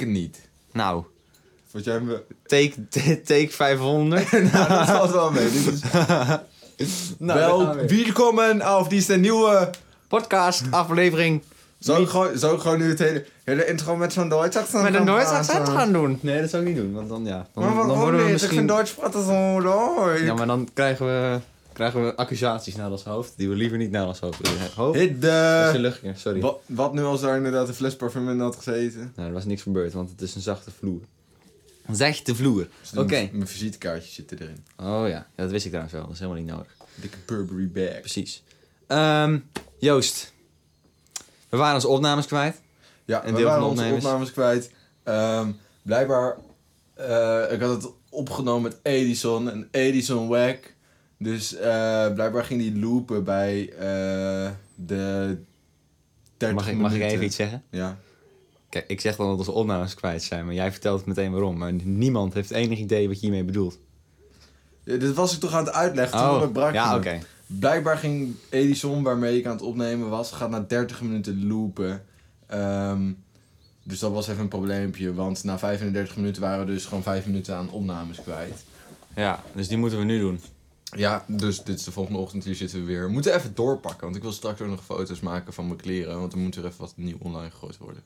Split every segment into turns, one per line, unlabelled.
het niet.
Nou,
Want jij me...
take, take 500.
nou, dat valt wel mee. Dit is...
Nou, daar gaan
wel,
we.
welkom auf deze nieuwe...
Podcast, aflevering
Zou ik gewoon, zou ik gewoon nu het hele, hele intro met zo'n Duits accent
met een
gaan
Duits
praten?
accent gaan doen. Nee, dat zou ik niet doen, want dan ja. Dan,
Maar
dan
waarom
worden we
niet? Ik vind
misschien...
Duits praten zo leuk.
Ja, maar dan krijgen we, krijgen we accusaties naar ons hoofd die we liever niet naar ons hoofd willen. Hoofd?
Hit
Dat
de...
is een luchtje, sorry.
Wa- Wat nu als er inderdaad een fles parfum in had gezeten?
Nou, er was niks gebeurd, want het is een zachte vloer. Zachte vloer. Oké.
Mijn visitekaartje zit erin.
Oh ja. ja, dat wist ik trouwens wel. Dat is helemaal niet nodig.
Dikke Burberry bag.
Precies. Ehm, Joost. We waren onze opnames kwijt.
Ja,
Een
we
deel van
waren
de
onze
opnames.
opnames kwijt. Ehm, blijkbaar, eh, ik had het opgenomen met Edison en Edison wack. Dus eh, blijkbaar ging die loopen bij eh, de 30
Mag ik, mag ik
minuten.
even iets zeggen?
Ja.
Kijk, ik zeg dan dat onze opnames kwijt zijn, maar jij vertelt meteen waarom. Maar niemand heeft enig idee wat je hiermee bedoelt. Oh,
Ja, Dit was ik toch aan het uitleggen, toen onderbrak je
ja,
me.
oké.
Blijkbaar ging Edison, waarmee ik aan het opnemen was, gaat na 30 minuten loopen. Ehm, dus dat was even een probleempje, want na 35 minuten waren we dus gewoon 5 minuten aan opnames kwijt.
Ja, dus die moeten we nu doen.
Ja, dus dit is de volgende ochtend, hier zitten we weer. We moeten even doorpakken, want ik wil straks ook nog foto's maken van mijn kleren. Want er moet er even wat nieuw online gegooid worden.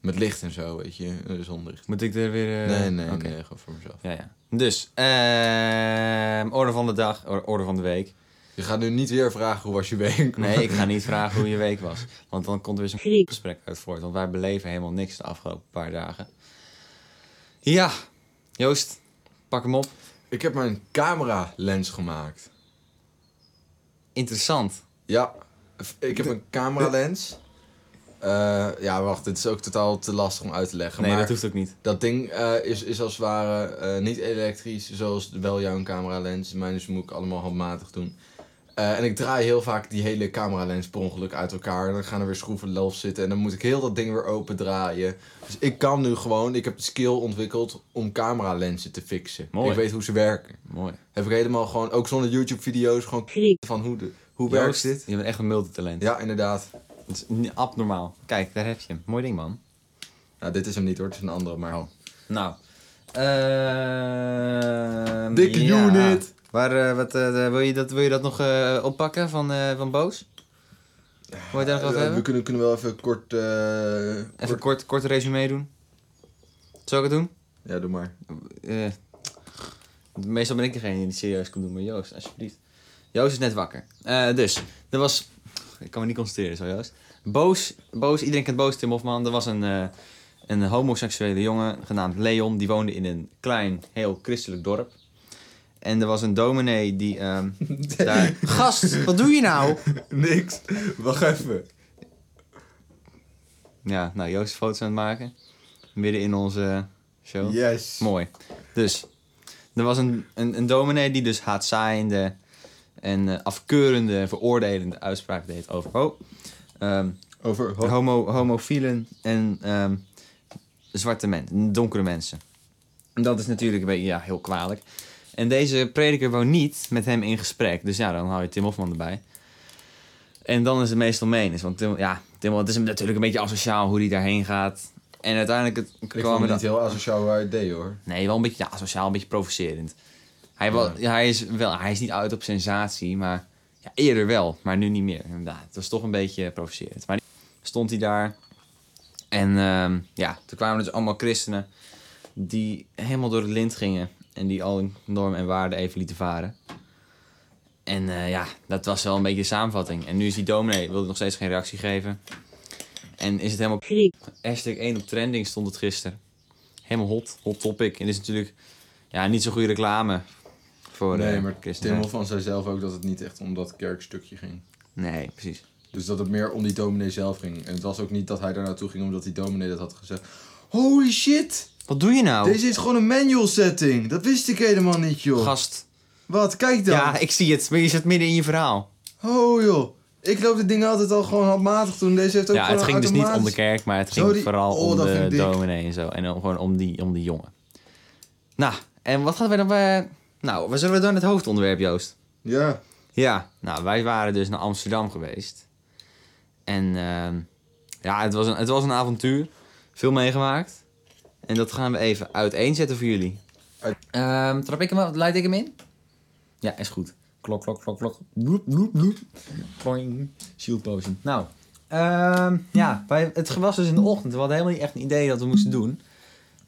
Met licht en zo, weet je, eh, zonlicht.
Moet ik er weer... eh,
nee, nee,
oké.
nee, gewoon voor mezelf.
Ja, ja. Dus, ehm orde van de dag, or- orde van de week.
Je gaat nu niet weer vragen hoe was je week.
Nee, ik ga niet vragen hoe je week was. Want dan komt er weer zo'n
Griep.
gesprek uit voort. Want wij beleven helemaal niks de afgelopen paar dagen. Ja, Joost, pak hem op.
Ik heb mijn camera lens gemaakt.
Interessant.
Ja, f- ik heb een camera lens. ja, wacht, dit is ook totaal te lastig om uit te leggen.
Nee,
maar
dat hoeft ook niet.
dat ding eh, is, is als het ware eh, niet elektrisch, zoals wel jouw camera lens. Mijn dus moet ik allemaal handmatig doen. Eh, en ik draai heel vaak die hele camera lens per ongeluk uit elkaar. En dan gaan er weer schroeven los zitten. En dan moet ik heel dat ding weer open draaien. Dus ik kan nu gewoon, ik heb de skill ontwikkeld om camera lenzen te fixen.
Mooi.
Ik weet hoe ze werken.
Mooi.
Heb ik helemaal gewoon, ook zonder YouTube video's, gewoon
Griep.
van hoe, de, hoe werkt
Joost,
dit?
je bent echt een multitalent.
Ja, inderdaad.
Dat is niet abnormaal. Kijk, daar heb je hem. Mooi ding, man.
Nou, dit is hem niet hoor, het is een andere, maar...
Nou. ehm,
Dikke
ja.
unit.
Waar, eh, wat, eh, wil, je dat, wil je dat nog eh, oppakken van, eh, van Boos? Wil je daar nog over
Eh, we
hebben?
kunnen, kunnen wel even kort, eh,
Even
kort...
kort, kort resume doen. Zal ik het doen?
Ja, doe maar.
Eh, meestal ben ik degene die het serieus kan doen, maar Joost, alsjeblieft. Joost is net wakker. Eh, dus, er was... Ik kan me niet concentreren zo, Joost. Boos, boos iedereen kent Boos Tim Hofman. Er was een, eh, een homoseksuele jongen genaamd Leon. Die woonde in een klein, heel christelijk dorp. En er was een dominee die ehm, daar... Gast, wat doe je nou?
Niks. Wacht even.
Ja, nou, Joost is foto's aan het maken. Midden in onze show.
Yes.
Mooi. Dus, er was een, een, een dominee die dus haatzaaiende en eh, afkeurende, veroordelende uitspraak deed over ho- ehm,
Over... ho-
homo, homofielen en ehm, zwarte mensen, donkere mensen. En Dat is natuurlijk een beetje, ja, heel kwalijk. En deze prediker wou niet met hem in gesprek. Dus ja, dan hou je Tim Hofman erbij. En dan is het meestal menens. Want Tim, ja, Tim, het is natuurlijk een beetje asociaal hoe hij daarheen gaat. En uiteindelijk het
Ik
kwam
vond
er
het
dan-
niet heel asociaal waar je het deed, hoor.
Nee, wel een beetje ja, sociaal, een beetje provocerend. Hij, wa- hij, is wel, hij is niet uit op sensatie, maar ja, eerder wel, maar nu niet meer. Ja, het was toch een beetje provocerend. Maar stond hij daar en ehm, ja, toen kwamen dus allemaal christenen die helemaal door het lint gingen en die al hun normen en waarden even lieten varen. En eh, ja, dat was wel een beetje de samenvatting. En nu is die dominee, wilde nog steeds geen reactie geven. En is het helemaal
griep,
Hashtag 1 op trending stond het gisteren. Helemaal hot, hot topic. En dit is natuurlijk ja, niet zo'n goede reclame voor
Nee,
eh,
maar Tim
christenen.
Hofman zei zelf ook dat het niet echt om dat kerkstukje ging.
Nee, precies.
Dus dat het meer om die dominee zelf ging. En het was ook niet dat hij daar naartoe ging omdat die dominee dat had gezegd. Holy shit!
Wat doe je nou?
Deze is gewoon een manual setting. Dat wist ik helemaal niet, joh.
Gast.
Wat, kijk dan.
Ja, ik zie het. Maar je zit midden in je verhaal.
Oh joh, ik loop dit ding altijd al gewoon handmatig doen. Deze heeft ook
Ja,
gewoon
het ging dus niet om de
automatisch-
kerk, maar het
Zo
ging
die-
vooral
oh,
om
dat
de
vind ik dik.
dominee en zo. En dan gewoon om die, om die jongen. Nou, en wat gaan we dan... bij? nou, we zullen we dan het hoofdonderwerp, Joost?
Ja,
Ja, nou, wij waren dus naar Amsterdam geweest. En ehm, ja, het was, een, het was een avontuur. Veel meegemaakt. En dat gaan we even uiteenzetten voor jullie.
Uit-
Ehm, trap ik hem, af? leid ik hem in? Ja, is goed. Klok, klok, klok, klok. Bloep, bloep, bloep. Kloing. Shield potion. Nou, ehm, ja, wij, het was dus in de ochtend. We hadden helemaal niet echt een idee dat we moesten doen.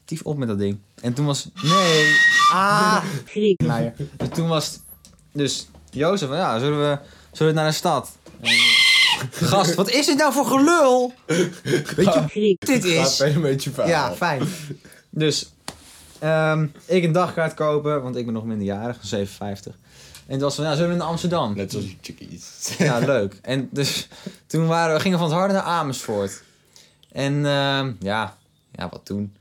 Tief op met dat ding. En toen was... Nee! Ah! Meijer. Dus toen was... het- Dus Jozef, ja, zullen we, zullen we naar de stad? Gast, wat is dit nou voor gelul? Weet je hoe
Gaat
dit is?
een beetje verhaal.
Ja, fijn. Dus ehm, ik een dagkaart kopen, want ik ben nog minderjarig, 57. En toen was van, nou, zullen we naar Amsterdam?
Net zoals chickies.
Ja, leuk. En dus toen waren, we- gingen we van het harde naar Amersfoort. En ehm, ja, ja, wat toen?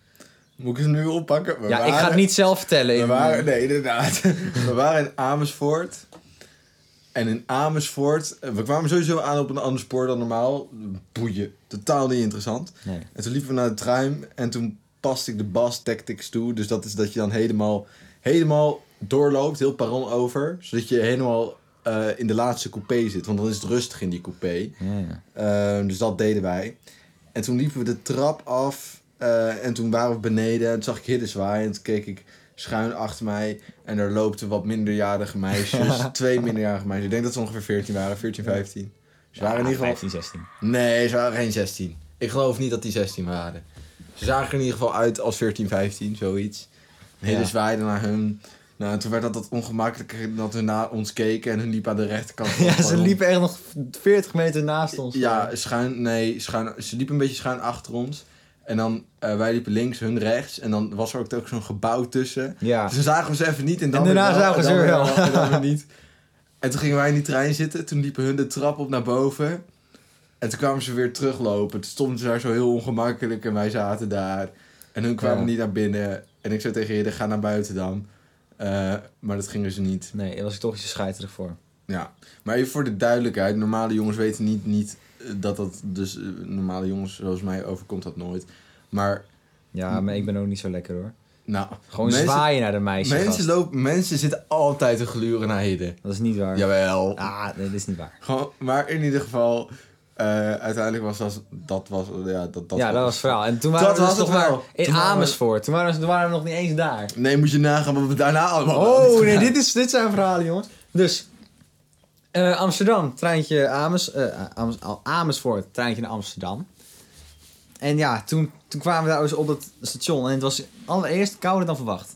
Moet ik ze nu oppakken? We
ja, ik ga het
waren-
niet zelf vertellen.
We
in-
waren, nee, inderdaad. We waren in Amersfoort. En in Amersfoort... eh, We kwamen sowieso aan op een ander spoor dan normaal. Boeien. Totaal niet interessant.
eh, Nee.
En toen liepen we naar de trein. En toen paste ik de bas tactics toe. Dus dat is dat je dan helemaal, helemaal doorloopt. Heel perron over. Zodat je helemaal eh, in de laatste coupé zit. Want dan is het rustig in die coupé.
Ja, ja.
Ehm, dus dat deden wij. En toen liepen we de trap af. eh, en toen waren we beneden. En toen zag ik Hidde zwaaien. En toen keek ik schuin achter mij. En er loopten wat minderjarige meisjes. twee minderjarige meisjes. Ik denk dat ze ongeveer 14 waren. 14, 15. Ze waren in ieder geval...
15, 16.
Nee, ze waren geen 16. Ik geloof niet dat die 16 waren. Ze zagen er in ieder geval uit als 14, 15. Zoiets. Hidde
Ja.
zwaaide naar hun. Nou, en toen werd dat wat ongemakkelijker dat hun naar ons keken. En hun liepen aan de rechterkant. van het
Ja, ze
perron.
liepen echt nog 40 meter naast ons.
Ja, schuin, nee, schuin, ze liepen een beetje schuin achter ons. En dan, eh, wij liepen links, hun rechts. En dan was er ook, ook zo'n gebouw tussen.
Ja.
Dus dan zagen we ze even niet. En, dan
En
weer
daarna
wel,
zagen
en
ze
dan
weer wel.
En dan weer niet. En toen gingen wij in die trein zitten. Toen liepen hun de trap op naar boven. En toen kwamen ze weer teruglopen. Toen stonden ze daar zo heel ongemakkelijk. En wij zaten daar. En hun kwamen
Ja.
niet naar binnen. En ik zei tegen Hidde, ga naar buiten dan. Eh, maar dat gingen ze niet.
Nee, daar was ik toch iets scheiterig voor.
Ja, maar even voor de duidelijkheid. Normale jongens weten niet, niet eh, dat dat... Dus eh, normale jongens zoals mij overkomt dat nooit. Maar,
Ja, maar ik ben ook niet zo lekker hoor.
nou...
Gewoon
mensen,
zwaaien naar de meisjes.
Mensen,
gast.
lopen, mensen zitten altijd te gluren naar heden.
Dat is niet waar.
Jawel.
Ah, nee, dat is niet waar.
Gewoon, maar in ieder geval... eh, uiteindelijk was dat... Dat was... Ja, dat, dat,
ja, dat was het verhaal. En toen waren
Dat
we dus
was het
toch maar
verhaal.
in
Toen waren we-
Amersfoort. Toen waren, we, toen waren we nog niet eens daar.
Nee, moet je nagaan wat we daarna allemaal hadden
Oh, nee,
gedaan.
dit, is, dit zijn verhalen, jongens. Dus, eh, Amsterdam, treintje Amers, eh, Amers- Al- Amersfoort, treintje naar Amsterdam. En ja, toen, toen kwamen we daar dus op dat station. En het was allereerst kouder dan verwacht.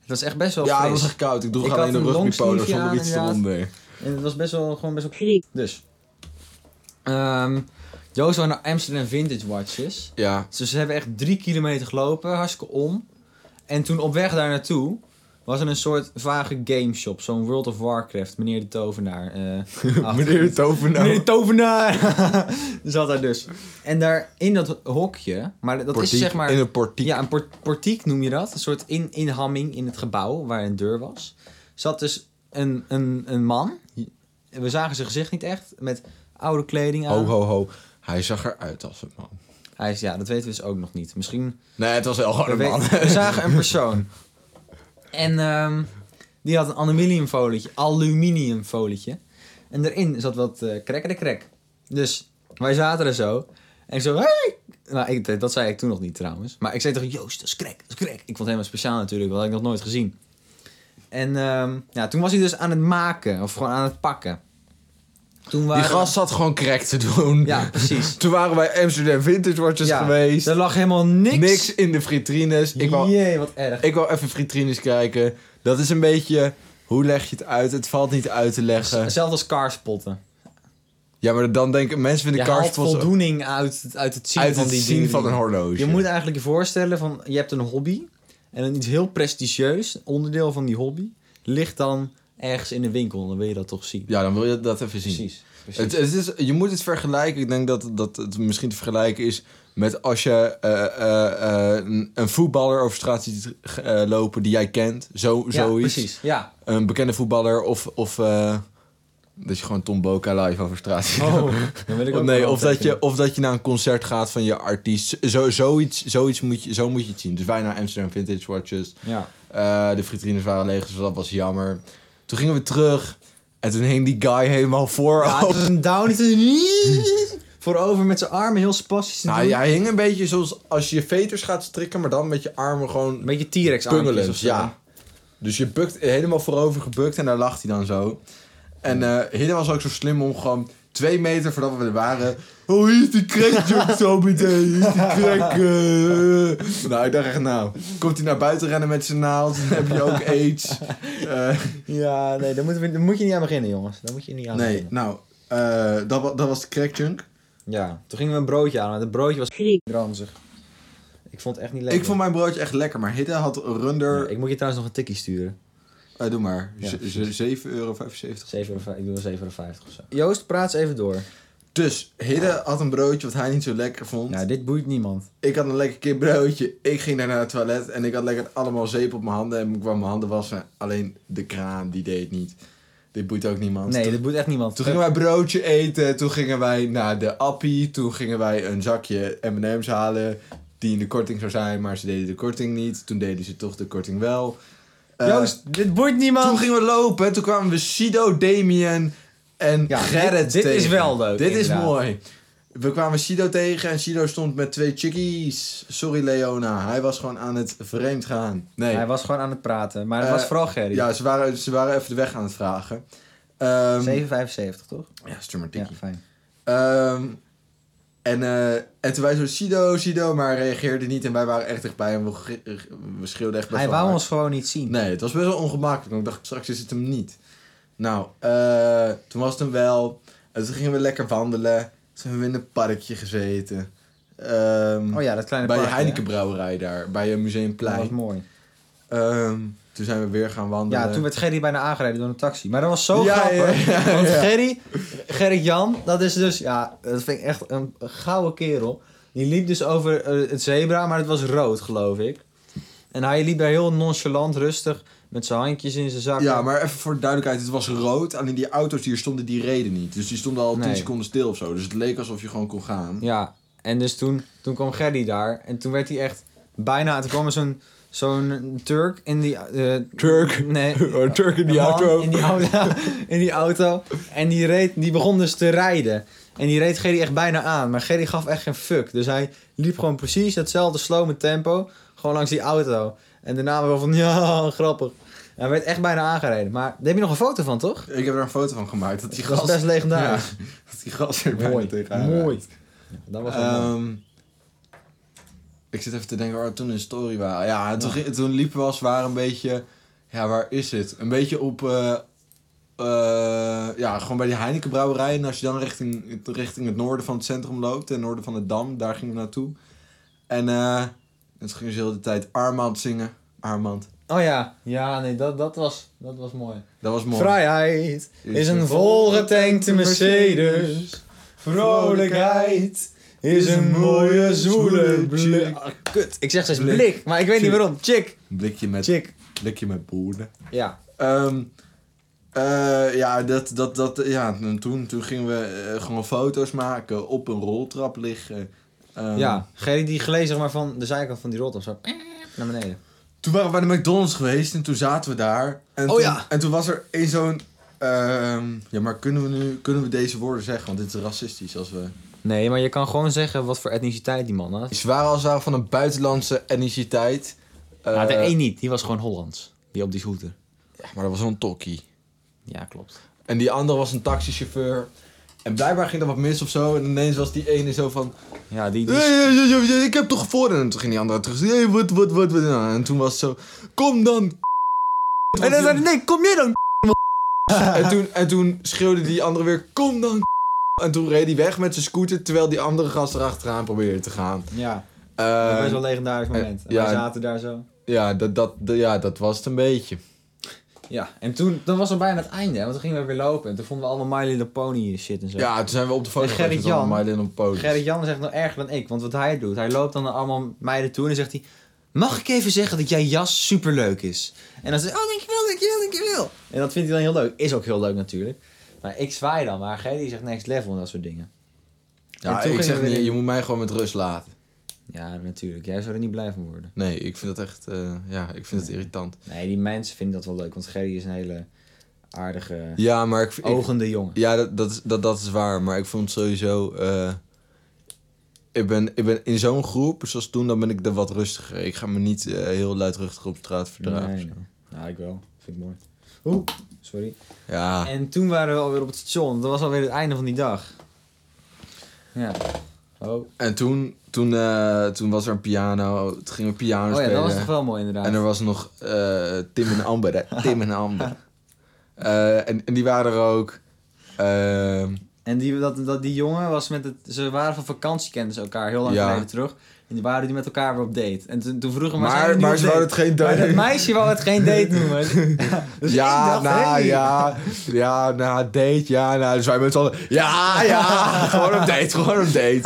Het was echt best wel
Ja,
fris.
het was echt koud. Ik droeg
Ik
alleen
had
een
een
rugbypolo
longsleeveje
zonder
aan,
iets
inderdaad.
eronder.
En het was best wel, gewoon best wel krik. Dus, ehm Joost wou naar Amsterdam Vintage Watches.
Ja,
Dus ze hebben echt drie kilometer gelopen, hartstikke om. En toen op weg daar naartoe was er een soort vage gameshop. Zo'n World of Warcraft, meneer de tovenaar. eh, achter-
meneer de tovenaar.
Meneer de tovenaar! Zat daar dus. En daar in dat hokje, maar dat
Portiek,
is zeg maar...
In een portiek.
Ja, een por- portiek noem je dat. Een soort in inhamming in het gebouw waar een deur was. Zat dus een, een, een man. En We zagen zijn gezicht niet echt. Met oude kleding aan.
Ho, ho, ho. Hij zag eruit als een man.
Hij is, ja, dat weten we dus ook nog niet. Misschien
Nee, het was wel gewoon een
We,
man.
we zagen een persoon. En ehm, die had een aluminiumfolietje. Aluminiumfolietje. En erin zat wat eh krekker de krek. Dus wij zaten er zo. En ik zo, hey! Nou, ik, dat- dat zei ik toen nog niet trouwens. Maar ik zei tegen Joost, dat is krek, dat is krek. Ik vond het helemaal speciaal natuurlijk, want dat had ik nog nooit gezien. En ehm, ja, toen was hij dus aan het maken, of gewoon aan het pakken. Toen
Die
waren-
gast zat gewoon crack te doen.
Ja, precies.
Toen waren wij Amsterdam Vintage Watches
Ja,
geweest.
Er lag helemaal niks.
Niks in de vitrines. Ik wou,
Jee, wat erg.
ik wou even vitrines kijken. Dat is een beetje... Hoe leg je het uit? Het valt niet uit te leggen.
Hetzelfde als kaarspotten.
Ja, maar dan denken mensen
Je
vinden
haalt
karspots
voldoening uit, het- uit het zien
uit
van
het
die
zien
dingen.
van een horloge.
Je moet eigenlijk je voorstellen van je hebt een hobby en een iets heel prestigieus onderdeel van die hobby ligt dan ergens in een winkel. Dan wil je dat toch zien.
Ja, dan wil je dat even zien.
precies.
Het, eh, het is, je moet het vergelijken. Ik denk dat, dat het misschien te vergelijken is met als je eh, eh, eh, een, een voetballer over straat ziet eh, lopen die jij kent. Zo,
ja,
zoiets.
precies. Ja.
een bekende voetballer of, of eh, dat je gewoon Tom Boca live over straat ziet.
dan wil Oh, ik
Of,
ook
nee,
wel
of, dat je,
tekenen.
of dat je naar een concert gaat van je artiest. Zo, zoiets, zoiets moet je, zo moet je het zien. Dus wij naar Amsterdam Vintage Watches.
Ja.
Eh, de vitrines waren leeg, dus dat was jammer. Toen gingen we terug en toen hing die guy helemaal voor.
Ja, het is een down. het is een-
voorover met zijn armen heel spastisch. te
Nou,
doen.
hij hing een beetje zoals als je je veters gaat strikken, maar dan met je armen gewoon
Een beetje T-Rex armpjes of
Pungelend,
zo.
ja. Dus je bukt helemaal voorover gebukt en daar lag hij dan zo. En eh Hidden was ook zo slim om gewoon twee meter voordat we er waren... Oh, hier is die crack joke zo meteen. Hier is die crack. eh." Nou, ik dacht echt, nou, komt hij naar buiten rennen met zijn naald? Dan heb je ook aids. Eh,
Ja, nee, daar, moeten we, daar moet je niet aan beginnen, jongens. Daar moet je niet aan
nee,
beginnen.
nou, eh, dat, wa- dat was de crack junk.
Ja, toen gingen we een broodje aan, maar het broodje was ranzig. Ik vond het echt niet lekker.
Ik vond mijn broodje echt lekker, maar Hidden had runder...
Ja, ik moet je trouwens nog een tikkie sturen.
eh, doe maar,
Ja,
Z- z-
precies.
7,75 euro.
7 euro, ik doe wel 7,50 of zo. Joost, praat eens even door.
Dus Hidden
Ah.
had een broodje wat hij niet zo lekker vond.
Nou, dit boeit niemand.
Ik had een lekker kipbroodje. Ik ging daar naar het toilet en ik had lekker allemaal zeep op mijn handen. En ik kwam mijn handen wassen. Alleen de kraan, die deed niet. Dit boeit ook niemand.
Nee, eh,
toen,
dit boeit echt niemand.
toen gingen wij broodje eten. Toen gingen wij naar de appie. Toen gingen wij een zakje M&M's halen. Die in de korting zou zijn, maar ze deden de korting niet. Toen deden ze toch de korting wel. Eh,
Joost, dit boeit niemand.
Toen gingen we lopen. Toen kwamen we Sido, Damien en
Ja,
Gerrit
dit- dit
tegen.
is wel leuk,
Dit
inderdaad.
is mooi. We kwamen Sido tegen en Sido stond met twee chickies. Sorry Leona, hij was gewoon aan het vreemd gaan. Nee.
Hij was gewoon aan het praten, maar het
Eh,
was vooral Gerry.
ja, ze waren, ze waren even de weg aan het vragen. Ehm
7,75 toch?
ja, stuur maar een
Ja,
tikkie.
fijn.
Ehm, en, eh, en toen wij zo Sido, Sido, maar hij reageerde niet. En wij waren echt dichtbij en we, ge- we schreeuwden echt best
Hij
wel
wou
hard.
ons gewoon niet zien.
Nee, het was best wel ongemakkelijk. want ik dacht, straks is het hem niet. Nou, eh, toen was het hem wel. En toen gingen we lekker wandelen. Toen hebben we in een parkje gezeten. Ehm,
Oh ja, dat kleine
bij de
parkje, hè?
Heinekenbrouwerij daar. Bij een
Dat was
museumplein.
mooi.
Ehm, toen zijn we weer gaan wandelen.
Ja, toen werd Gerry bijna aangereden door een taxi. Maar dat was zo
Ja,
grappig.
ja, ja,
want
ja.
Gerry, Gerrit Jan, dat is dus, ja, dat vind ik echt een, een gouden kerel. Die liep dus over eh, het zebra, maar het was rood, geloof ik. En hij liep daar heel nonchalant, rustig, met zijn handjes in zijn zak.
Ja, maar even voor de duidelijkheid. Het was rood. Alleen die auto's die er stonden, die reden niet. Dus die stonden al 10
Nee.
seconden stil of zo. Dus het leek alsof je gewoon kon gaan.
Ja, en dus toen, toen kwam Gerry daar. En toen werd hij echt bijna... Toen kwam er zo'n zo'n Turk in die... eh,
Turk? Oh,
Nee.
Een Turk in die
een man
auto.
In die auto. in die auto. En die, reed, die begon dus te rijden. En die reed Gerry echt bijna aan. Maar Gerry gaf echt geen fuck. Dus hij liep gewoon precies datzelfde slome tempo. Gewoon langs die auto. En daarna wel van... Ja, grappig. En hij werd echt bijna aangereden. Maar daar heb je nog een foto van, toch?
Ik heb er een foto van gemaakt. Dat die
Dat
gast...
is best legendarisch.
Ja, dat die gast er bijna tegenaan raakte.
Mooi. Ja, dat was wel mooi.
Ehm, ik zit even te denken waar we toen in de story waren. Ja, en toen, ging- toen liepen we als het ware een beetje... Ja, waar is het? Een beetje op... eh, eh, ja, gewoon bij die Heineken brouwerij. En als je dan richting, richting het noorden van het centrum loopt... en noorden van het Dam, daar gingen we naartoe. En, eh, en toen gingen ze heel de tijd Armand zingen. Armand.
Oh ja, ja, nee, dat, dat, was, dat was mooi.
Dat was mooi.
Vrijheid is een volgetankte Mercedes. Vrolijkheid is een mooie zoele blik. Ah, kut, ik zeg steeds
Blik.
blik, maar ik weet niet
Chick.
waarom. Chick,
Blikje met,
chick.
blikje met boeren.
Ja,
Ehm, eh, ja, dat, dat, dat, ja en toen, toen gingen we eh, gewoon foto's maken, op een roltrap liggen. Ehm,
ja. Gerry die gleed zeg maar van de zijkant van die rot of zo naar beneden.
Toen waren we bij de McDonald's geweest en toen zaten we daar. En
Oh
toen,
ja.
En toen was er een zo'n... ehm, ja, maar kunnen we nu kunnen we deze woorden zeggen? Want dit is racistisch als we...
Nee, maar je kan gewoon zeggen wat voor etniciteit die man had.
Ze waren als waren van een buitenlandse etniciteit. Eh,
Nou, de één niet, die was gewoon Hollands. Die op die scooter.
maar dat was zo'n tokkie.
Ja, klopt.
En die andere was een taxichauffeur. En blijkbaar ging er wat mis of zo. En ineens was die ene zo van...
Ja, die, die...
Hey, hey, hey, hey, hey, ik heb toch voor. En toen ging die andere terug. Hey, wat, wat, wat, wat. Nou, En toen was het zo. Kom dan.
En dan zei hij, nee, kom jij dan?
En toen, en toen schreeuwde die andere weer. Kom dan. En toen reed hij weg met zijn scooter. Terwijl die andere gast erachteraan probeerde te gaan.
Ja, eh, dat was
Eh,
best wel een legendarisch moment.
ja.
Wij zaten daar zo.
ja, dat, dat, dat- ja, dat was het een beetje.
Ja, en toen, dan was het bijna het einde, hè, want toen gingen we weer lopen. En toen vonden we allemaal My Little Pony shit en zo.
Ja, toen zijn we op de foto
En Gerrit
geweest met allemaal
Jan.
My Little Ponies.
Gerrit Jan is echt nog erger dan ik, want wat hij doet, hij loopt dan naar allemaal meiden toe en dan zegt hij... Mag ik even zeggen dat jij jas superleuk is? En dan zegt hij, oh dankjewel, dankjewel, dankjewel. En dat vindt hij dan heel leuk. Is ook heel leuk natuurlijk. Maar ik zwaai dan, maar Gerrit zegt next level en dat soort dingen.
Ja,
En toen
ik
gingen
zeg
we
niet,
in-
je moet mij gewoon met rust laten.
Ja, natuurlijk. Jij zou er niet blij van worden.
Nee, ik vind dat echt, eh, ja, ik vind het irritant.
Nee, die mensen vinden dat wel leuk, want Gerrit is een hele aardige,
Ja, maar ik, ik,
ogende jongen.
Ja, dat, dat, is- dat, dat is waar. Maar ik vond sowieso eh, ik ben, ik ben in zo'n groep, zoals toen, dan ben ik er wat rustiger. Ik ga me niet eh, heel luidruchtig op straat verdragen. of
Nee,
zo.
nee. Nou, ik wel. Vind ik mooi. Oeh, sorry.
Ja,
En toen waren we alweer op het station. Dat was alweer het einde van die dag. Ja. Oh,
en toen, toen, eh, toen was er een piano. Toen gingen we piano
oh ja,
spelen.
dat was toch wel mooi inderdaad.
En er was nog eh, Tim en Amber. hè. Tim en Amber. Eh, en, en die waren er ook. Eh,
En die, dat, dat, die jongen was met het... Ze waren van vakantie, kenden ze elkaar heel lang
Ja.
geleden terug. En die waren die met elkaar weer op date. En toen, toen vroegen we...
maar maar ze
waren
wouden het geen
Maar dat
date.
meisje wou het geen date noemen. Dus ik
Ja,
dacht,
nou
hey.
ja, ja, nou date, ja, nou, dus wij met z'n allen, ja, ja, gewoon op date, gewoon op date.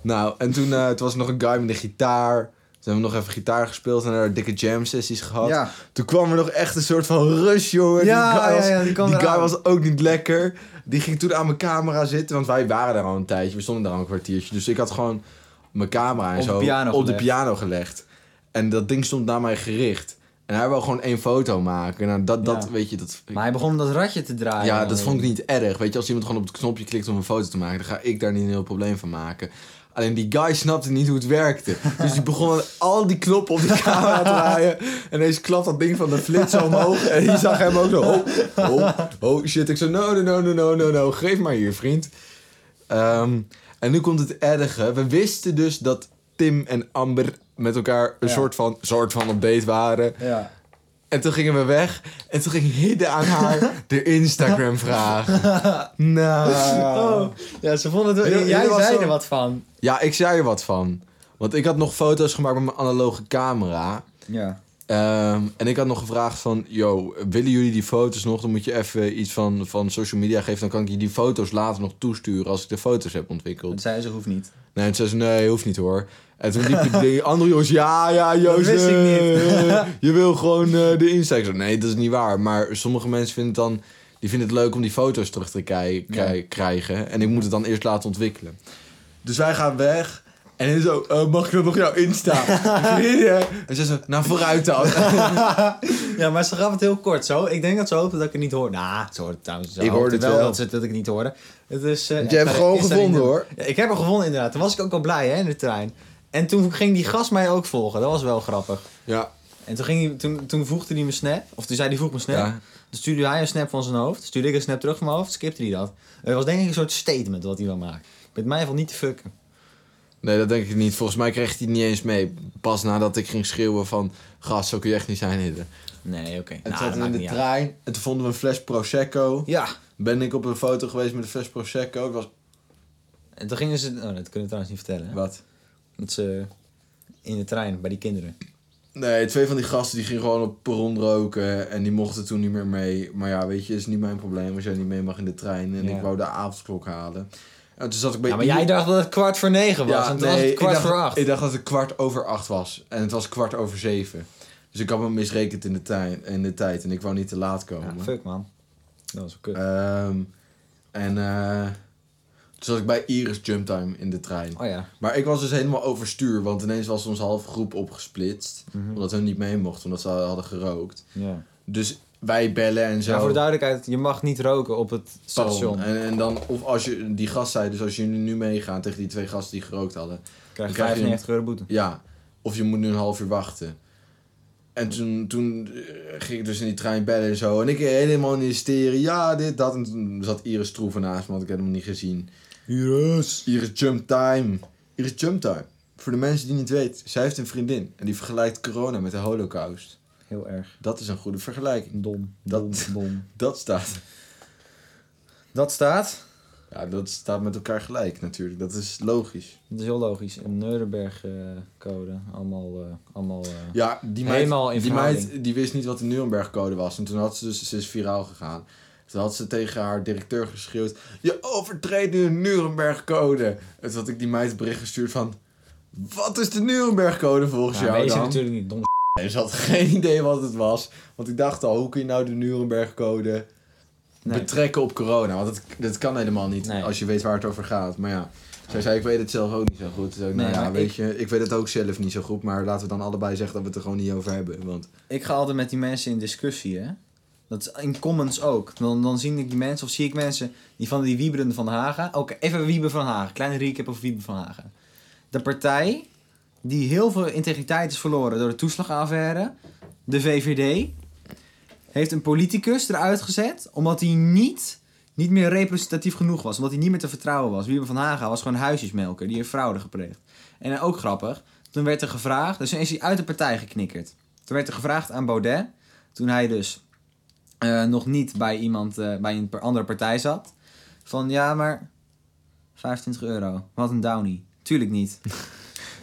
Nou, en toen, eh toen was er nog een guy met een gitaar, toen hebben we nog even gitaar gespeeld en er dikke jam sessies gehad.
Ja.
Toen kwam er nog echt een soort van rush, jongen.
Ja,
die guy,
ja,
was,
ja, die
die
kwam eraan.
guy was ook niet lekker. Die ging toen aan mijn camera zitten, want wij waren daar al een tijdje, we stonden daar al een kwartiertje. Dus ik had gewoon mijn camera en
Op de
zo
piano
op de
gelegd.
piano gelegd. En dat ding stond naar mij gericht. En hij wou gewoon één foto maken. Nou, dat, dat
Ja.
weet je, dat...
Maar hij begon om dat ratje te draaien.
ja, dat vond ik niet erg. Weet je, als iemand gewoon op het knopje klikt om een foto te maken... dan ga ik daar niet een heel probleem van maken. Alleen die guy snapte niet hoe het werkte. Dus die begon aan al die knoppen op die camera te draaien. En eens klapt dat ding van de flits omhoog. En die zag hem ook zo... Oh, oh, oh shit. Ik zo, no, no, no, no, no, no, no. Geef maar hier, vriend. Ehm, en nu komt het erge. We wisten dus dat Tim en Amber met elkaar een
Ja.
soort, van, soort van op date waren.
Ja.
En toen gingen we weg. En toen ging Hidde aan haar de Instagram vragen. Nou.
Oh. Ja, ze vonden het wel...
Jullie-
Jij
jullie was
zei
zo-
er wat van.
Ja, ik zei er wat van. Want ik had nog foto's gemaakt met mijn analoge camera.
Ja.
Ehm, en ik had nog gevraagd van... Yo, willen jullie die foto's nog? Dan moet je even iets van, van social media geven. Dan kan ik je die foto's later nog toesturen als ik de foto's heb ontwikkeld.
Dat zei ze, hoeft niet.
Nee, en toen zei ze, nee, hoeft niet hoor. En toen liep die- die andere jongens, ja, ja, Joost.
wist ik niet.
eh, je wil gewoon eh, de Insta. Ik zei, nee, dat is niet waar. Maar sommige mensen vinden het dan, die vinden het leuk om die foto's terug te kij- kij- krijgen. En ik moet het dan eerst laten ontwikkelen. Dus wij gaan weg. En hij zo, eh, mag ik dan nog jouw Insta? en ze zo, nou vooruit dan.
Ja, maar ze gaf het heel kort zo. Ik denk dat ze hoopte dat ik het niet hoorde. Nou, ze hoorde het trouwens ze
Ik hoorde
hoopte
het wel.
dat, ze, dat ik het niet hoorde. Het is, eh,
Want
ja,
je hebt
ik
gewoon
sta niet
gevonden,
in.
hoor.
Ja, ik heb hem gevonden inderdaad. Toen was ik ook al blij hè, in de trein. En toen ging die gast mij ook volgen. Dat was wel grappig.
ja,
En toen, ging hij, toen, toen voegde hij me snap. Of toen zei hij vroeg me snap.
Ja.
Toen stuurde hij een snap van zijn hoofd. Stuurde ik een snap terug van mijn hoofd. Skipte hij dat. Het was denk ik een soort statement wat hij wil maken. Met mij valt niet te fucken.
nee, dat denk ik niet. Volgens mij kreeg hij het niet eens mee. Pas nadat ik ging schreeuwen van, gast, zo kun je echt niet zijn, Hidde.
Nee, oké.
En
Nou,
toen
dat
zaten we
maakt
in de
niet uit.
trein. En toen vonden we een fles Prosecco.
Ja.
Ben ik op een foto geweest met een fles Prosecco. Het was...
En toen gingen ze... Oh, dat kunnen we trouwens niet vertellen. hè?
Wat?
Dat ze in de trein bij die kinderen.
Nee, twee van die gasten die gingen gewoon op perron roken. En die mochten toen niet meer mee. Maar ja, weet je, is niet mijn probleem als jij niet mee mag in de trein. En
Ja.
ik wou de avondklok halen. En toen zat ik bij...
Ja, maar jij dacht dat het kwart voor negen was. en toen was het
ik
kwart
dacht-
voor acht.
Ik dacht dat het kwart over acht was. En het was kwart over zeven. Dus ik had me misrekend in de, tij- in de tijd. En ik wou niet te laat komen.
Ja, fuck man. Dat was wel kut.
Ehm, en eh, toen zat ik bij Iris Jumptime in de trein.
oh ja.
Maar ik was dus helemaal overstuur, want ineens was onze halve groep opgesplitst.
Mhm.
Omdat hun niet mee mochten, omdat ze hadden gerookt.
ja.
Dus wij bellen en zo. eh,
Ja, voor de duidelijkheid. Je mag niet roken op het
Pardon.
station.
En, en dan, of als je, die gast zei, dus als jullie nu meegaan tegen die twee gasten die gerookt hadden.
Krijg je
krijg je
95 euro boete.
Ja, of je moet nu een half uur wachten. En toen, toen eh, ging ik dus in die trein bellen en zo. En ik helemaal in hysterie, ja, dit, dat. En toen zat Iris Troeven naast me, had ik helemaal niet gezien.
Iris.
Iris Jump Time. Iris Jump Time. Voor de mensen die niet weten, zij heeft een vriendin en die vergelijkt corona met de holocaust.
Heel erg.
Dat is een goede vergelijking.
Dom.
Dat-
Dom. Dom.
Dat staat.
Dat staat.
Ja, dat staat met elkaar gelijk natuurlijk. Dat is logisch.
Dat is heel logisch. Een Nuremberg-code. allemaal... eh, allemaal eh,
Ja, die meid,
Helemaal in
die,
verhouding.
meid die wist niet wat de Nuremberg-code was. En toen had ze dus, ze is viraal gegaan. Toen had ze tegen haar directeur geschreeuwd: Je overtreedt nu de Nuremberg-code. En toen had ik die meid een bericht gestuurd van: Wat is de Nuremberg-code volgens
nou,
jou?
weet je
dan?
natuurlijk niet. Dom.
En ze had geen idee wat het was. Want ik dacht al, hoe kun je nou de Nuremberg-code
Nee.
betrekken op corona? Want dat, dat kan helemaal niet
Nee.
als je weet waar het over gaat. Maar ja, zij zei, ik weet het zelf ook niet zo goed. Toen zei ik, nou
Nee,
ja,
maar
weet
ik-
je, ik weet het ook zelf niet zo goed. Maar laten we dan allebei zeggen dat we het er gewoon niet over hebben. Want
Ik ga altijd met die mensen in discussie, hè. Dat is in comments ook. Dan, dan zie ik die mensen, of zie ik mensen die van die Wieberen van Hagen. Oké, even Wiebe van Hagen. Kleine recap over Wiebe van Hagen. de partij die heel veel integriteit is verloren door de toeslagaffaire, de VVD, heeft een politicus eruit gezet omdat hij niet, niet meer representatief genoeg was. Omdat hij niet meer te vertrouwen was. Wieber van Haga was gewoon een huisjesmelker, die heeft fraude gepleegd. En ook grappig, toen werd er gevraagd, dus toen is hij uit de partij geknikkerd. Toen werd er gevraagd aan Baudet, toen hij dus eh, nog niet bij iemand, eh, bij een andere partij zat, van ja, maar 25 euro, wat een downie. Tuurlijk niet.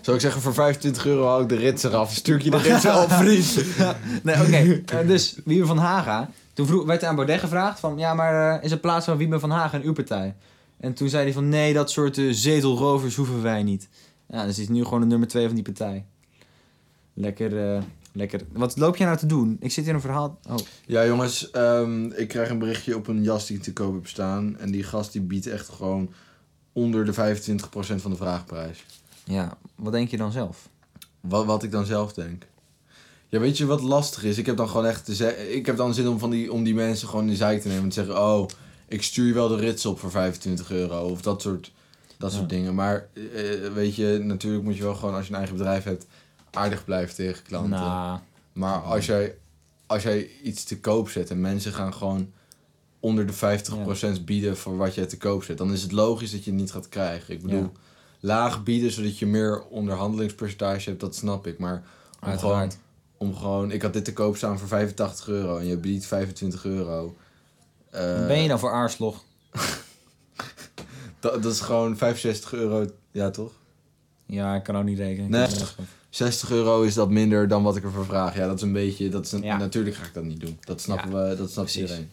Zou ik zeggen, voor 25 euro hou ik de rits eraf. Stuur ik je de rits op, vriend.
Nee, oké. Eh, dus Wiebe van Haga. Toen vroeg, werd er aan Baudet gevraagd van... Ja, maar eh, is er plaats van Wiebe van Haga in uw partij? En toen zei hij van... Nee, dat soort eh, zetelrovers hoeven wij niet. Ja, dus hij is nu gewoon de nummer twee van die partij. Lekker, eh, lekker. Wat loop jij nou te doen? Ik zit hier een verhaal... Oh,
Ja, jongens, ehm, ik krijg een berichtje op een jas die ik te koop heb staan. En die gast die biedt echt gewoon onder de 25% van de vraagprijs.
ja. Wat denk je dan zelf?
Wat, wat ik dan zelf denk. Ja, weet je wat lastig is? Ik heb dan gewoon echt te ze- Ik heb dan zin om, van die, om die mensen gewoon in de zijk te nemen. En te zeggen, oh, ik stuur je wel de rits op voor 25 euro. Of dat soort, dat soort dingen. Maar eh, weet je, natuurlijk moet je wel gewoon als je een eigen bedrijf hebt... aardig blijven tegen klanten.
Nou,
Maar als jij, als jij iets te koop zet en mensen gaan gewoon onder de 50% bieden voor wat jij te koop zet, dan is het logisch dat je het niet gaat krijgen. Ik bedoel,
Ja.
laag bieden zodat je meer onderhandelingspercentage hebt, dat snap ik. Maar om gewoon,
uiteraard.
om gewoon, ik had dit te koop staan voor 85 euro en je biedt 25 euro. Eh,
ben je nou voor aarslog?
dat, dat is gewoon 65 euro, ja toch?
Ja, ik kan ook niet rekenen.
Nee. 60 euro is dat minder dan wat ik ervoor vraag. Ja, dat is een beetje, dat is een-
Ja.
natuurlijk ga ik dat niet doen. Dat snappen we, dat snapt
precies.
iedereen.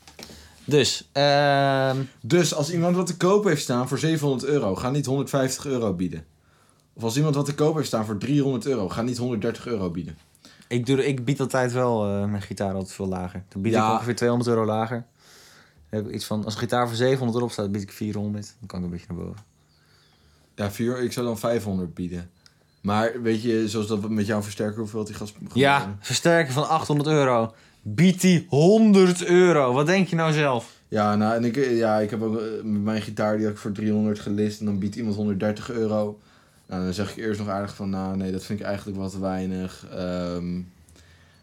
Dus, ehm...
Dus als iemand wat te koop heeft staan voor 700 euro, ga niet 150 euro bieden. Of als iemand wat te koop heeft staan voor 300 euro, ga niet 130 euro bieden.
Ik, doe, ik bied altijd wel eh, mijn gitaar altijd veel lager. Dan bied
Ja.
ik ongeveer 200 euro lager. Dan heb ik iets van, als een gitaar voor 700 euro staat, bied ik 400. Dan kan ik een beetje naar boven.
Ja, vier, ik zou dan 500 bieden. Maar weet je, zoals dat we met jouw versterker, hoeveel die gas...
Ja,
gaan-
versterker van 800 euro. Bied die 100 euro. Wat denk je nou zelf?
Ja, nou, en ik, ja, ik heb ook eh, met mijn gitaar die had ik voor 300 gelist en dan biedt iemand 130 euro. Nou, dan zeg ik eerst nog aardig van, nou nee, dat vind ik eigenlijk wat te weinig. Ehm,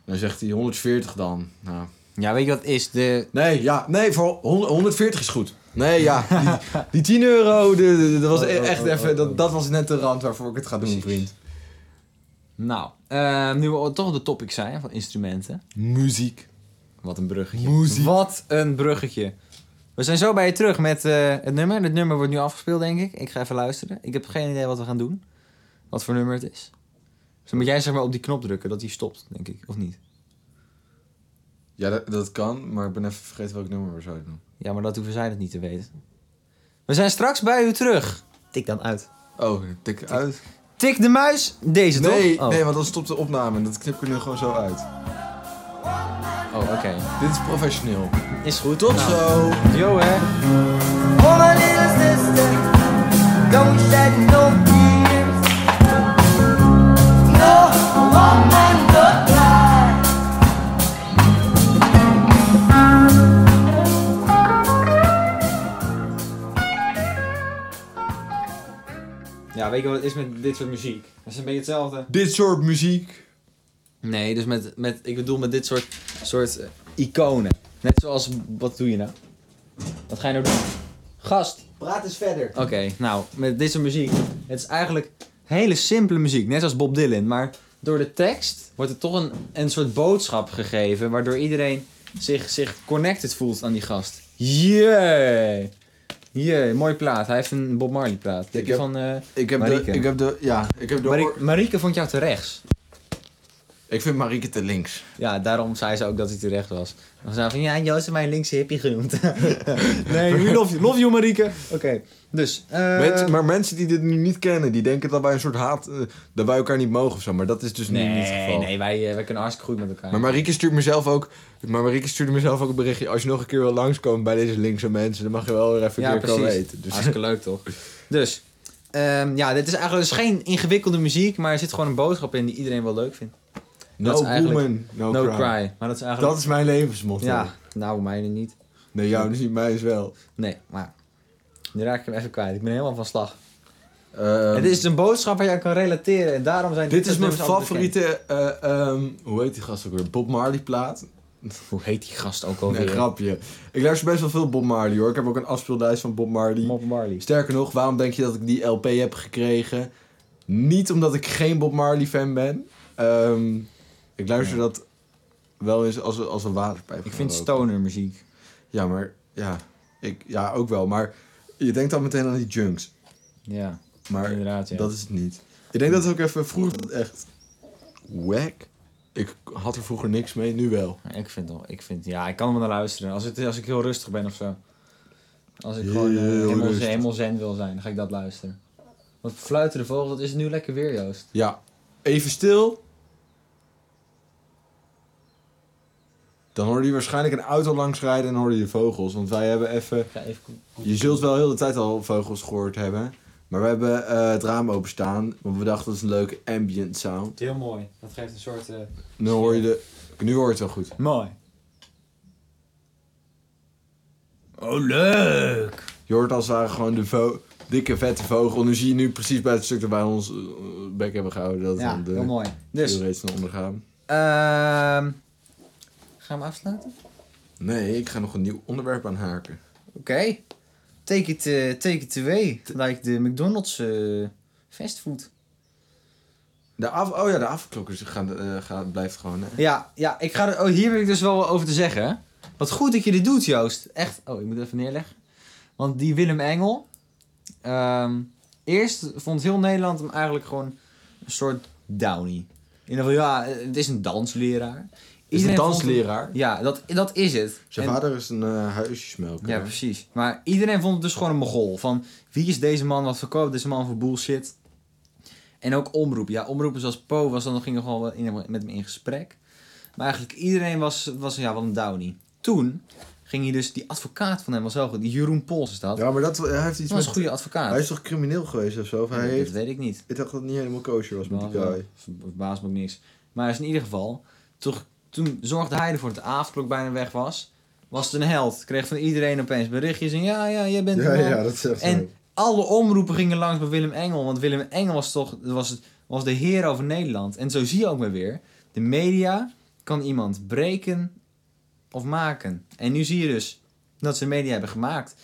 dan zegt hij 140 dan. Nou,
Ja, weet je wat het is? De...
Nee, ja, nee, voor hon- 140 is goed. Nee, ja, die, die 10 euro, de- de- de- dat was
Oh, oh,
echt
oh,
even,
oh,
dat, dat was net de rand waarvoor ik het ga doen, vriend.
Nou, eh, nu we toch op de topic zijn van instrumenten.
Muziek.
Wat een bruggetje.
Muziek.
Wat een bruggetje. We zijn zo bij je terug met eh, het nummer. Het nummer wordt nu afgespeeld, denk ik. Ik ga even luisteren. Ik heb geen idee wat we gaan doen. Wat voor nummer het is. Dus dan moet jij zeg maar op die knop drukken dat hij stopt, denk ik. Of niet?
Ja, dat, dat kan, maar ik ben even vergeten welk nummer we zouden doen.
Ja, maar dat hoeven zij dat niet te weten. We zijn straks bij u terug. Tik dan uit.
Oh, tik uit.
Tik de muis. Deze
Nee,
toch? Oh,
nee, want dan stopt de opname en dat knip ik er nu gewoon zo uit.
oh oké.
Dit is professioneel.
Is goed.
Tot
Nou,
zo.
Yo hè.
Oh, my little sister, don't shed no tears. No woman could cry.
Ja, weet je wat het is met dit soort muziek? Dat is een beetje hetzelfde.
Dit soort muziek.
Nee, dus met, met, ik bedoel met dit soort, soort eh, iconen. Net zoals, wat doe je nou? Wat ga je nou doen? Gast, praat eens verder. Oké, nou, met dit soort muziek. Het is eigenlijk hele simpele muziek, net als Bob Dylan. Maar door de tekst wordt er toch een, een soort boodschap gegeven... waardoor iedereen zich, zich connected voelt aan die gast. Jee! Jee, mooi plaat. Hij heeft een Bob Marley plaat. Ik
heb-
heb van... eh,
Ik heb
Marieke.
de, ik heb de, ja, ik heb de.
Marie-
oor-
Marieke vond jou te rechts.
Ik vind Marieke te links.
Ja, daarom zei ze ook dat hij terecht was. Dan zei ze van, ja, Joost heeft mij een linkse hippie genoemd. nee, we love you, love you Marieke. Oké, dus... eh,
Mensen- maar mensen die dit nu niet kennen, die denken dat wij een soort haat, eh, dat wij elkaar niet mogen of zo. Maar dat is dus nu niet het
nee,
geval.
nee, wij, eh, wij kunnen hartstikke goed met elkaar.
Maar Marieke stuurt mezelf ook. Maar Marieke stuurde mezelf ook een berichtje. Als je nog een keer wil langskomen bij deze linkse mensen, dan mag je wel weer even een
ja,
keer
precies.
komen eten. Dus
Hartstikke leuk, toch? Dus, ehm, ja, dit is eigenlijk dus geen ingewikkelde muziek, maar er zit gewoon een boodschap in die iedereen wel leuk vindt.
no
dat is eigenlijk-
woman, no,
No
cry.
cry. Maar dat is eigenlijk...
Dat is mijn levensmotto.
Ja, nou, mijne niet.
Nee, jou is niet, mij is wel.
Nee, maar... Nu raak ik hem even kwijt. Ik ben helemaal van slag.
Ehm,
het is dus- een boodschap waar jij aan kan relateren en daarom zijn
dit is mijn
nummers dus altijd
favoriete, eh, ehm, hoe heet die gast ook weer? Bob Marley plaat.
bekend. Hoe heet die gast
Nee,
ook alweer?
grapje. Ik luister best wel veel Bob Marley hoor. Ik heb ook een afspeellijst van Bob Marley.
Bob Marley.
Sterker nog, waarom denk je dat ik die LP heb gekregen? Niet omdat ik geen Bob Marley fan ben. Ehm, ik luister dat wel eens als, als een waterpijp.
Ik vind
gaan roken.
stoner muziek.
Ja, maar ja, ik, ja, ook wel. Maar je denkt dan meteen aan die junks.
Ja,
Maar
inderdaad. Ja.
dat is het niet. Ik denk dat het ook even vroeger echt wack. Ik had er vroeger niks mee, nu wel.
Maar Ik vind wel, ik vind, ja, ik kan er wel naar luisteren. Als, het, als ik heel rustig ben of zo. Als ik
Heel
gewoon eh, helemaal,
rustig.
helemaal zen wil zijn, dan ga ik dat luisteren. Want fluiten de vogel, wat is het nu lekker weer, Joost?
Ja, even stil. Dan hoorde je waarschijnlijk een auto langsrijden en hoorde je vogels. Want wij hebben even...
Ik ga even ko-
Je zult wel heel de tijd al vogels gehoord hebben. Maar we hebben eh, het raam openstaan. Want we dachten dat is een leuke ambient sound.
Heel mooi. Dat geeft een soort. eh,
Nu hoor je de... Nu hoor je het wel goed.
Mooi. Oh, leuk!
Je hoort als het ware gewoon de vo- dikke vette vogel. Nu zie je nu precies bij het stuk dat wij ons eh, bek hebben gehouden. Dat
Ja,
dan de
heel mooi. Dus,
dus. reeds naar ondergaan.
ehm gaan we afsluiten?
Nee, ik ga nog een nieuw onderwerp aanhaken.
Oké. Take, it, eh, take it away. Like de McDonald's eh, fastfood.
De af oh ja, de afklokkers gaan, eh, gaan, blijft gewoon... hè.
Ja, ja ik ga er, oh, hier wil ik dus wel wat over te zeggen. hè. Wat goed dat je dit doet, Joost. Echt. Oh, ik moet even neerleggen. Want die Willem Engel. ehm, eerst vond heel Nederland hem eigenlijk gewoon een soort downy. In ieder geval, ja, eh, het is een dansleraar.
Is een
Iedereen vond hem-
dansleraar.
Ja, dat, dat is het.
Zijn
En-
vader is een eh huisjesmelker.
ja, precies. Maar iedereen vond het dus gewoon een mogol. Van wie is deze man? Wat verkoopt deze man voor bullshit? En ook omroepen. Ja, omroepen zoals Po was dan nog gingen gewoon wel in- met hem in gesprek. Maar eigenlijk iedereen was, was ja, wel een downie. Toen ging hij dus, die advocaat van hem was wel goed. Die Jeroen Pols is dat.
Ja, maar dat, hij heeft iets
dat was een
met...
goede advocaat.
Hij is toch crimineel geweest of zo? Of hij
Nee,
heeft...
Dat weet ik niet.
Ik dacht dat het niet helemaal kosher was met die guy.
Verbaas me ook niks. Maar dus in ieder geval, toch, toen zorgde hij ervoor dat de avondklok bijna weg was. Was het een held. Kreeg van iedereen opeens berichtjes. En ja, ja, jij bent
Ja,
de man.
ja, dat is echt zo.
En alle omroepen gingen langs bij Willem Engel. Want Willem Engel was toch was, het- was de heer over Nederland. En zo zie je ook maar weer. De media kan iemand breken of maken. En nu zie je dus dat ze media hebben gemaakt.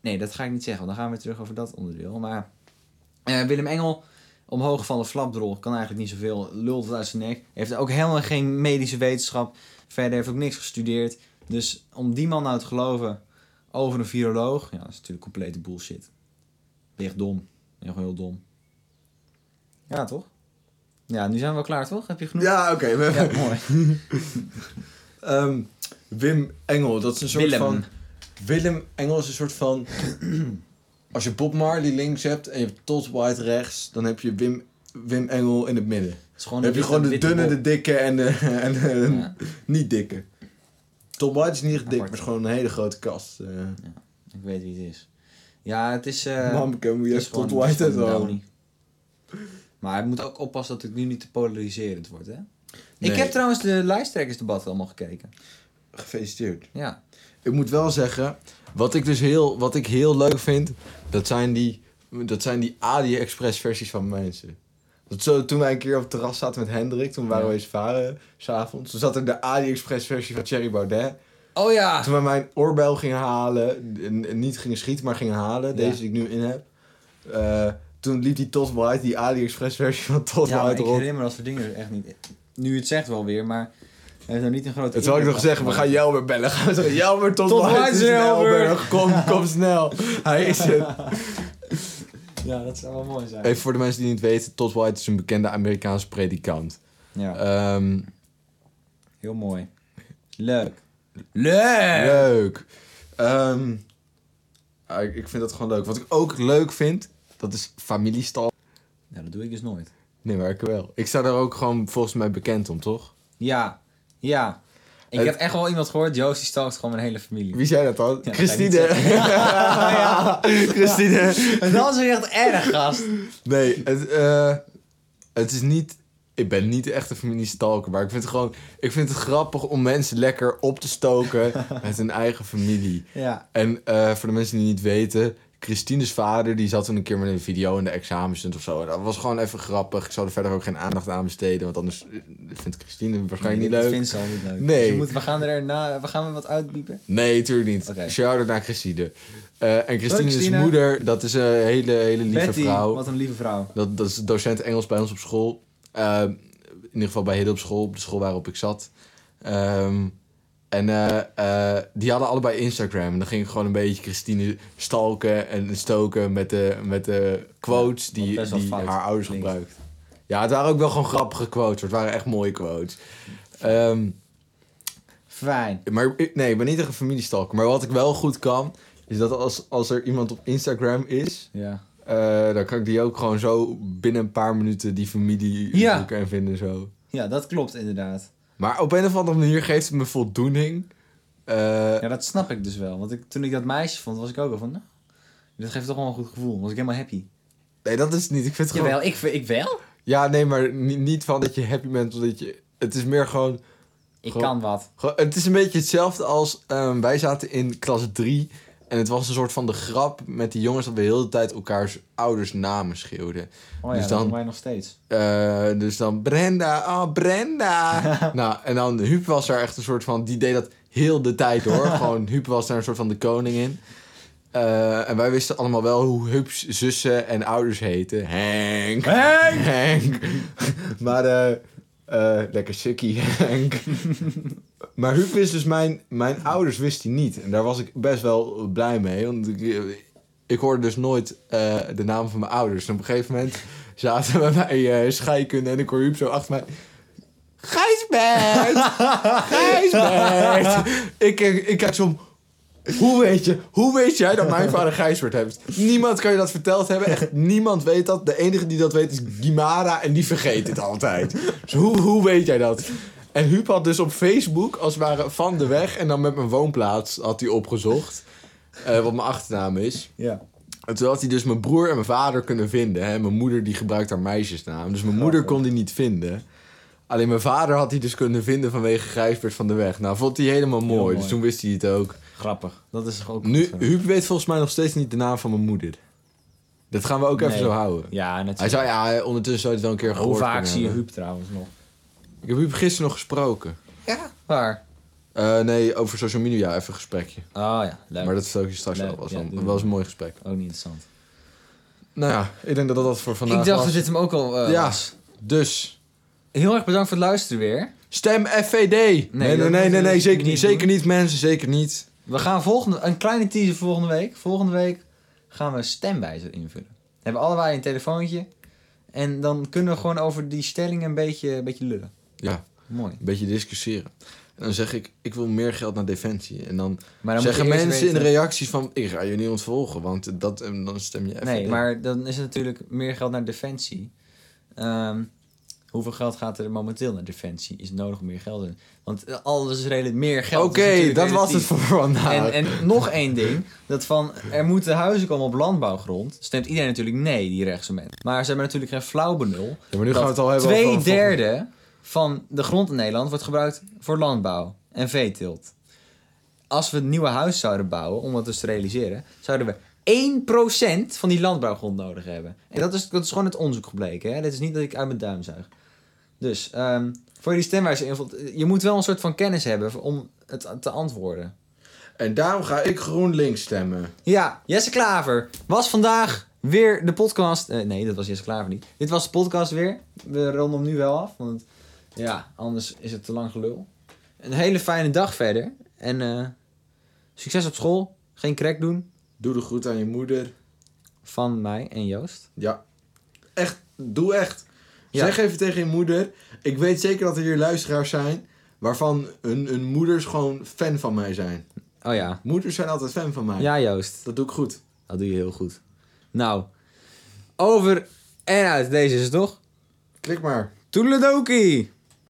Nee, dat ga ik niet zeggen. Want dan gaan we weer terug over dat onderdeel. Maar eh, Willem Engel, omhoog gevallen flapdrol, kan eigenlijk niet zoveel. Lult het uit zijn nek. Heeft ook helemaal geen medische wetenschap. Verder heeft ook niks gestudeerd. Dus om die man nou te geloven over een viroloog. Ja, dat is natuurlijk complete bullshit. Ben je echt dom. Ben je gewoon heel dom. Ja, toch? Ja, nu zijn we wel klaar, toch? Heb je genoeg?
Ja, oké. we
Ja, mooi.
Ehm, Wim Engel, dat is een soort
Willem.
van... Willem Engel is een soort van... Als je Bob Marley links hebt en je hebt Todd White rechts... dan heb je Wim, Wim Engel in het midden.
Het is
Dan
gewoon
heb je
witte-
gewoon de
witte
dunne,
bol.
de dikke en de, en de
Ja.
niet dikke. Todd White is niet echt dik,
Apart.
maar is gewoon een hele grote kast. eh
Ik weet wie het is. Ja, het is... eh
Mamke, moet je
het
even
is gewoon-
Todd
het is
White uit
gewoon
houden.
Downey. Maar het moet ook oppassen dat het nu niet te polariserend wordt, hè? Ik
Nee.
heb trouwens de lijsttrekkersdebat allemaal gekeken.
Gefeliciteerd.
Ja.
Ik moet wel zeggen, wat ik dus heel, wat ik heel leuk vind, dat zijn die, dat zijn die AliExpress versies van mensen. Dat zo, toen wij een keer op het terras zaten met Hendrik, toen waren
Ja.
we eens varen, s'avonds. Toen zat er de AliExpress versie van Thierry Baudet.
Oh ja!
Toen wij mijn oorbel gingen halen, en- en niet gingen schieten, maar gingen halen, deze die ik nu in heb. eh, toen liep die Todd White, die AliExpress versie van Todd
Ja, maar
White
ik
rond.
herinner me dat soort dingen echt niet. Nu het zegt wel weer, maar hij heeft nou niet een grote...
Het zal ik nog
impact
zeggen, we
gehad.
gaan Jelmer bellen. Gaan we zeggen, Jelmer, Todd,
Todd
White
White
is
is
in
in Elburg.
Elburg. Kom, kom snel. Hij is het.
Ja, dat zou wel mooi zijn.
Even voor de mensen die niet weten, Todd White is een bekende Amerikaanse predikant.
Ja,
Ehm,
heel mooi. Leuk. Leuk!
leuk. Ehm, ah, ik ik vind dat gewoon leuk. Wat ik ook leuk vind, dat is familiestal.
Nou, dat doe ik dus nooit.
Nee, maar ik wel. Ik sta daar ook gewoon volgens mij bekend om, toch?
Ja, ja. Ik
Het-
heb echt wel iemand gehoord, Joost die stalkt gewoon mijn hele familie.
Wie zei dat dan?
dat
Christine.
kan ik niet
Christine.
En dat is weer echt erg, gast.
Nee, het, eh, het is niet... Ik ben niet echt een familiestalker, maar ik vind het gewoon... Ik vind het grappig om mensen lekker op te stoken met hun eigen familie.
Ja.
En eh, voor de mensen die niet weten, Christine's vader, die zat toen een keer met een video in de examenstunt of zo. Dat was gewoon even grappig. Ik zou er verder ook geen aandacht aan besteden, want anders eh, vindt Christine het waarschijnlijk niet
dat
leuk.
vindt ze al niet leuk.
Nee.
Dus we, moeten, we gaan er na, we gaan er wat uitdiepen.
Nee, tuurlijk niet.
Oké.
Shout-out naar Christine. Eh, en Christine's
Christine.
moeder, dat is een hele, hele lieve
Betty,
vrouw.
wat een lieve vrouw.
Dat, dat is docent Engels bij ons op school. Ehm, in ieder geval bij Hidde op school, op de school waarop ik zat. Ehm, en eh, eh, die hadden allebei Instagram. En dan ging ik gewoon een beetje Christine stalken en stoken met de, met de quotes
wat
die,
best wel
die
fout
haar ouders
klinkt.
gebruikten. Ja, het waren ook wel gewoon grappige quotes. hoor. Het waren echt mooie quotes. Ehm,
Fijn.
maar ik- nee, ik ben niet echt een familiestalker. Maar wat ik wel goed kan, is dat als, als er iemand op Instagram is...
Ja.
Eh, dan kan ik die ook gewoon zo binnen een paar minuten die familie
Ja.
zoeken en vinden zo.
ja, dat klopt inderdaad.
Maar op een of andere manier geeft het me voldoening. Eh,
Ja, dat snap ik dus wel. Want ik, toen ik dat meisje vond, was ik ook al van... Nou, dit geeft toch wel een goed gevoel. Was ik helemaal happy.
Nee, dat is het niet. Ik vind het gewoon...
ik, ik wel.
Ja, nee, maar ni- niet van dat je happy bent of dat je... Het is meer gewoon...
Ik
Goh.
kan wat.
gewoon- het is een beetje hetzelfde als... ehm, wij zaten in klas 3 en het was een soort van de grap met die jongens... dat we heel de hele tijd elkaars ouders namen schreeuwden.
Oh ja,
Dus
dat
dan-
doen wij nog steeds.
Eh, dus dan Brenda, oh Brenda. nou, en dan Huub was daar echt een soort van, die deed dat heel de tijd hoor. Gewoon, Huub was daar een soort van de koning in. Eh, en wij wisten allemaal wel hoe Huub's zussen en ouders heten. Henk.
Henk!
Henk. maar, eh, eh, lekker sukkie Henk. maar Huub wist dus mijn, mijn ouders wist hij niet. En daar was ik best wel blij mee. Want ik, ik hoorde dus nooit eh, de naam van mijn ouders. En op een gegeven moment zaten we bij eh, scheikunde en ik hoor Huub zo achter mij... Gijsbert! Gijsbert! ik, kijk- ik kijk zo om... Hoe weet, je, hoe weet jij dat mijn vader Gijsbert heeft? Niemand kan je dat verteld hebben. Echt niemand weet dat. De enige die dat weet is Gimara en die vergeet het altijd. Dus hoe, hoe weet jij dat? En Huub had dus op Facebook, als het ware van de weg... en dan met mijn woonplaats had hij opgezocht. eh, wat mijn achternaam is.
Ja.
En toen had hij dus mijn broer en mijn vader kunnen vinden. Hè? Mijn moeder die gebruikt haar meisjesnaam. Dus mijn moeder kon die niet vinden. Alleen mijn vader had hij dus kunnen vinden vanwege Gijsbert van de Weg. Nou, vond hij helemaal mooi.
mooi.
Dus toen wist hij het ook.
Grappig. Dat is toch ook
Nu,
goed, hè?
Huub weet volgens mij nog steeds niet de naam van mijn moeder. Dat gaan we ook even
Nee.
zo houden.
Ja, natuurlijk.
Hij zei, ja, hij- ondertussen zou hij het wel een keer gehoord
Hoe vaak
kunnen
zie je
hebben.
Huub trouwens nog?
Ik heb Huub gisteren nog gesproken.
Ja. Waar?
Eh, nee, over social media even een gesprekje.
Oh ja, leuk.
Maar dat vertel ik je straks
Leuk,
wel. Was
ja,
wel-
doe.
was een mooi gesprek.
Ook niet interessant.
Nou ja, ik denk dat dat voor vandaag
ik dacht
was.
dat dit hem ook al eh,
Ja.
was.
Dus...
Heel erg bedankt voor het luisteren weer.
Stem FVD. Nee, nee,
dat
nee, nee, nee,
moeten we
zeker
niet
niet. Zeker
doen.
niet, mensen, zeker niet.
We gaan volgende, een kleine teaser voor volgende week. Volgende week gaan we een stemwijzer invullen. We hebben allebei een telefoontje. En dan kunnen we gewoon over die stelling een beetje, een beetje lullen.
Ja,
Mooi.
een beetje discussiëren. En dan zeg ik, ik wil meer geld naar defensie. En dan,
Maar dan
zeggen
moet je eerst
mensen in de
weten-
reacties van, ik ga je niet ontvolgen, want dat, en dan stem je FVD.
Nee, maar dan is het natuurlijk meer geld naar defensie. Ehm, hoeveel geld gaat er momenteel naar defensie? Is nodig om meer geld in? Want eh, alles is redelijk meer
Oké,
geld. is natuurlijk
dat was het
relatief.
voor vandaag.
En, en nog één ding, dat van er moeten huizen komen op landbouwgrond. Stemt iedereen natuurlijk nee, die rechtse mensen. Maar ze hebben natuurlijk geen flauw benul.
Ja, maar nu
dat
gaan we het al hebben
twee
over-
derde van de grond in Nederland wordt gebruikt voor landbouw en veeteelt. Als we een nieuwe huis zouden bouwen, om dat dus te realiseren, zouden we 1% van die landbouwgrond nodig hebben. En dat is, dat is gewoon het onderzoek gebleken. Hè? Dit is niet dat ik uit mijn duim zuig. Dus ehm, voor die stemwijze invult, je moet wel een soort van kennis hebben om het te antwoorden.
En daarom ga ik GroenLinks stemmen.
Ja, Jesse Klaver was vandaag weer de podcast. eh, nee, dat was Jesse Klaver niet. Dit was de podcast weer. We ronden hem nu wel af, want ja, anders is het te lang gelul. Een hele fijne dag verder. En eh, succes op school. Geen crack doen.
Doe de groet aan je moeder.
Van mij en Joost.
Ja. Echt, doe echt.
Ja.
Zeg even tegen je moeder. Ik weet zeker dat er hier luisteraars zijn waarvan hun, hun moeders gewoon fan van mij zijn.
Oh ja.
Moeders zijn altijd fan van mij.
Ja, Joost.
Dat doe ik goed.
Dat doe je heel goed. Nou, over en uit deze is het toch?
Klik maar.
Toedeledokie!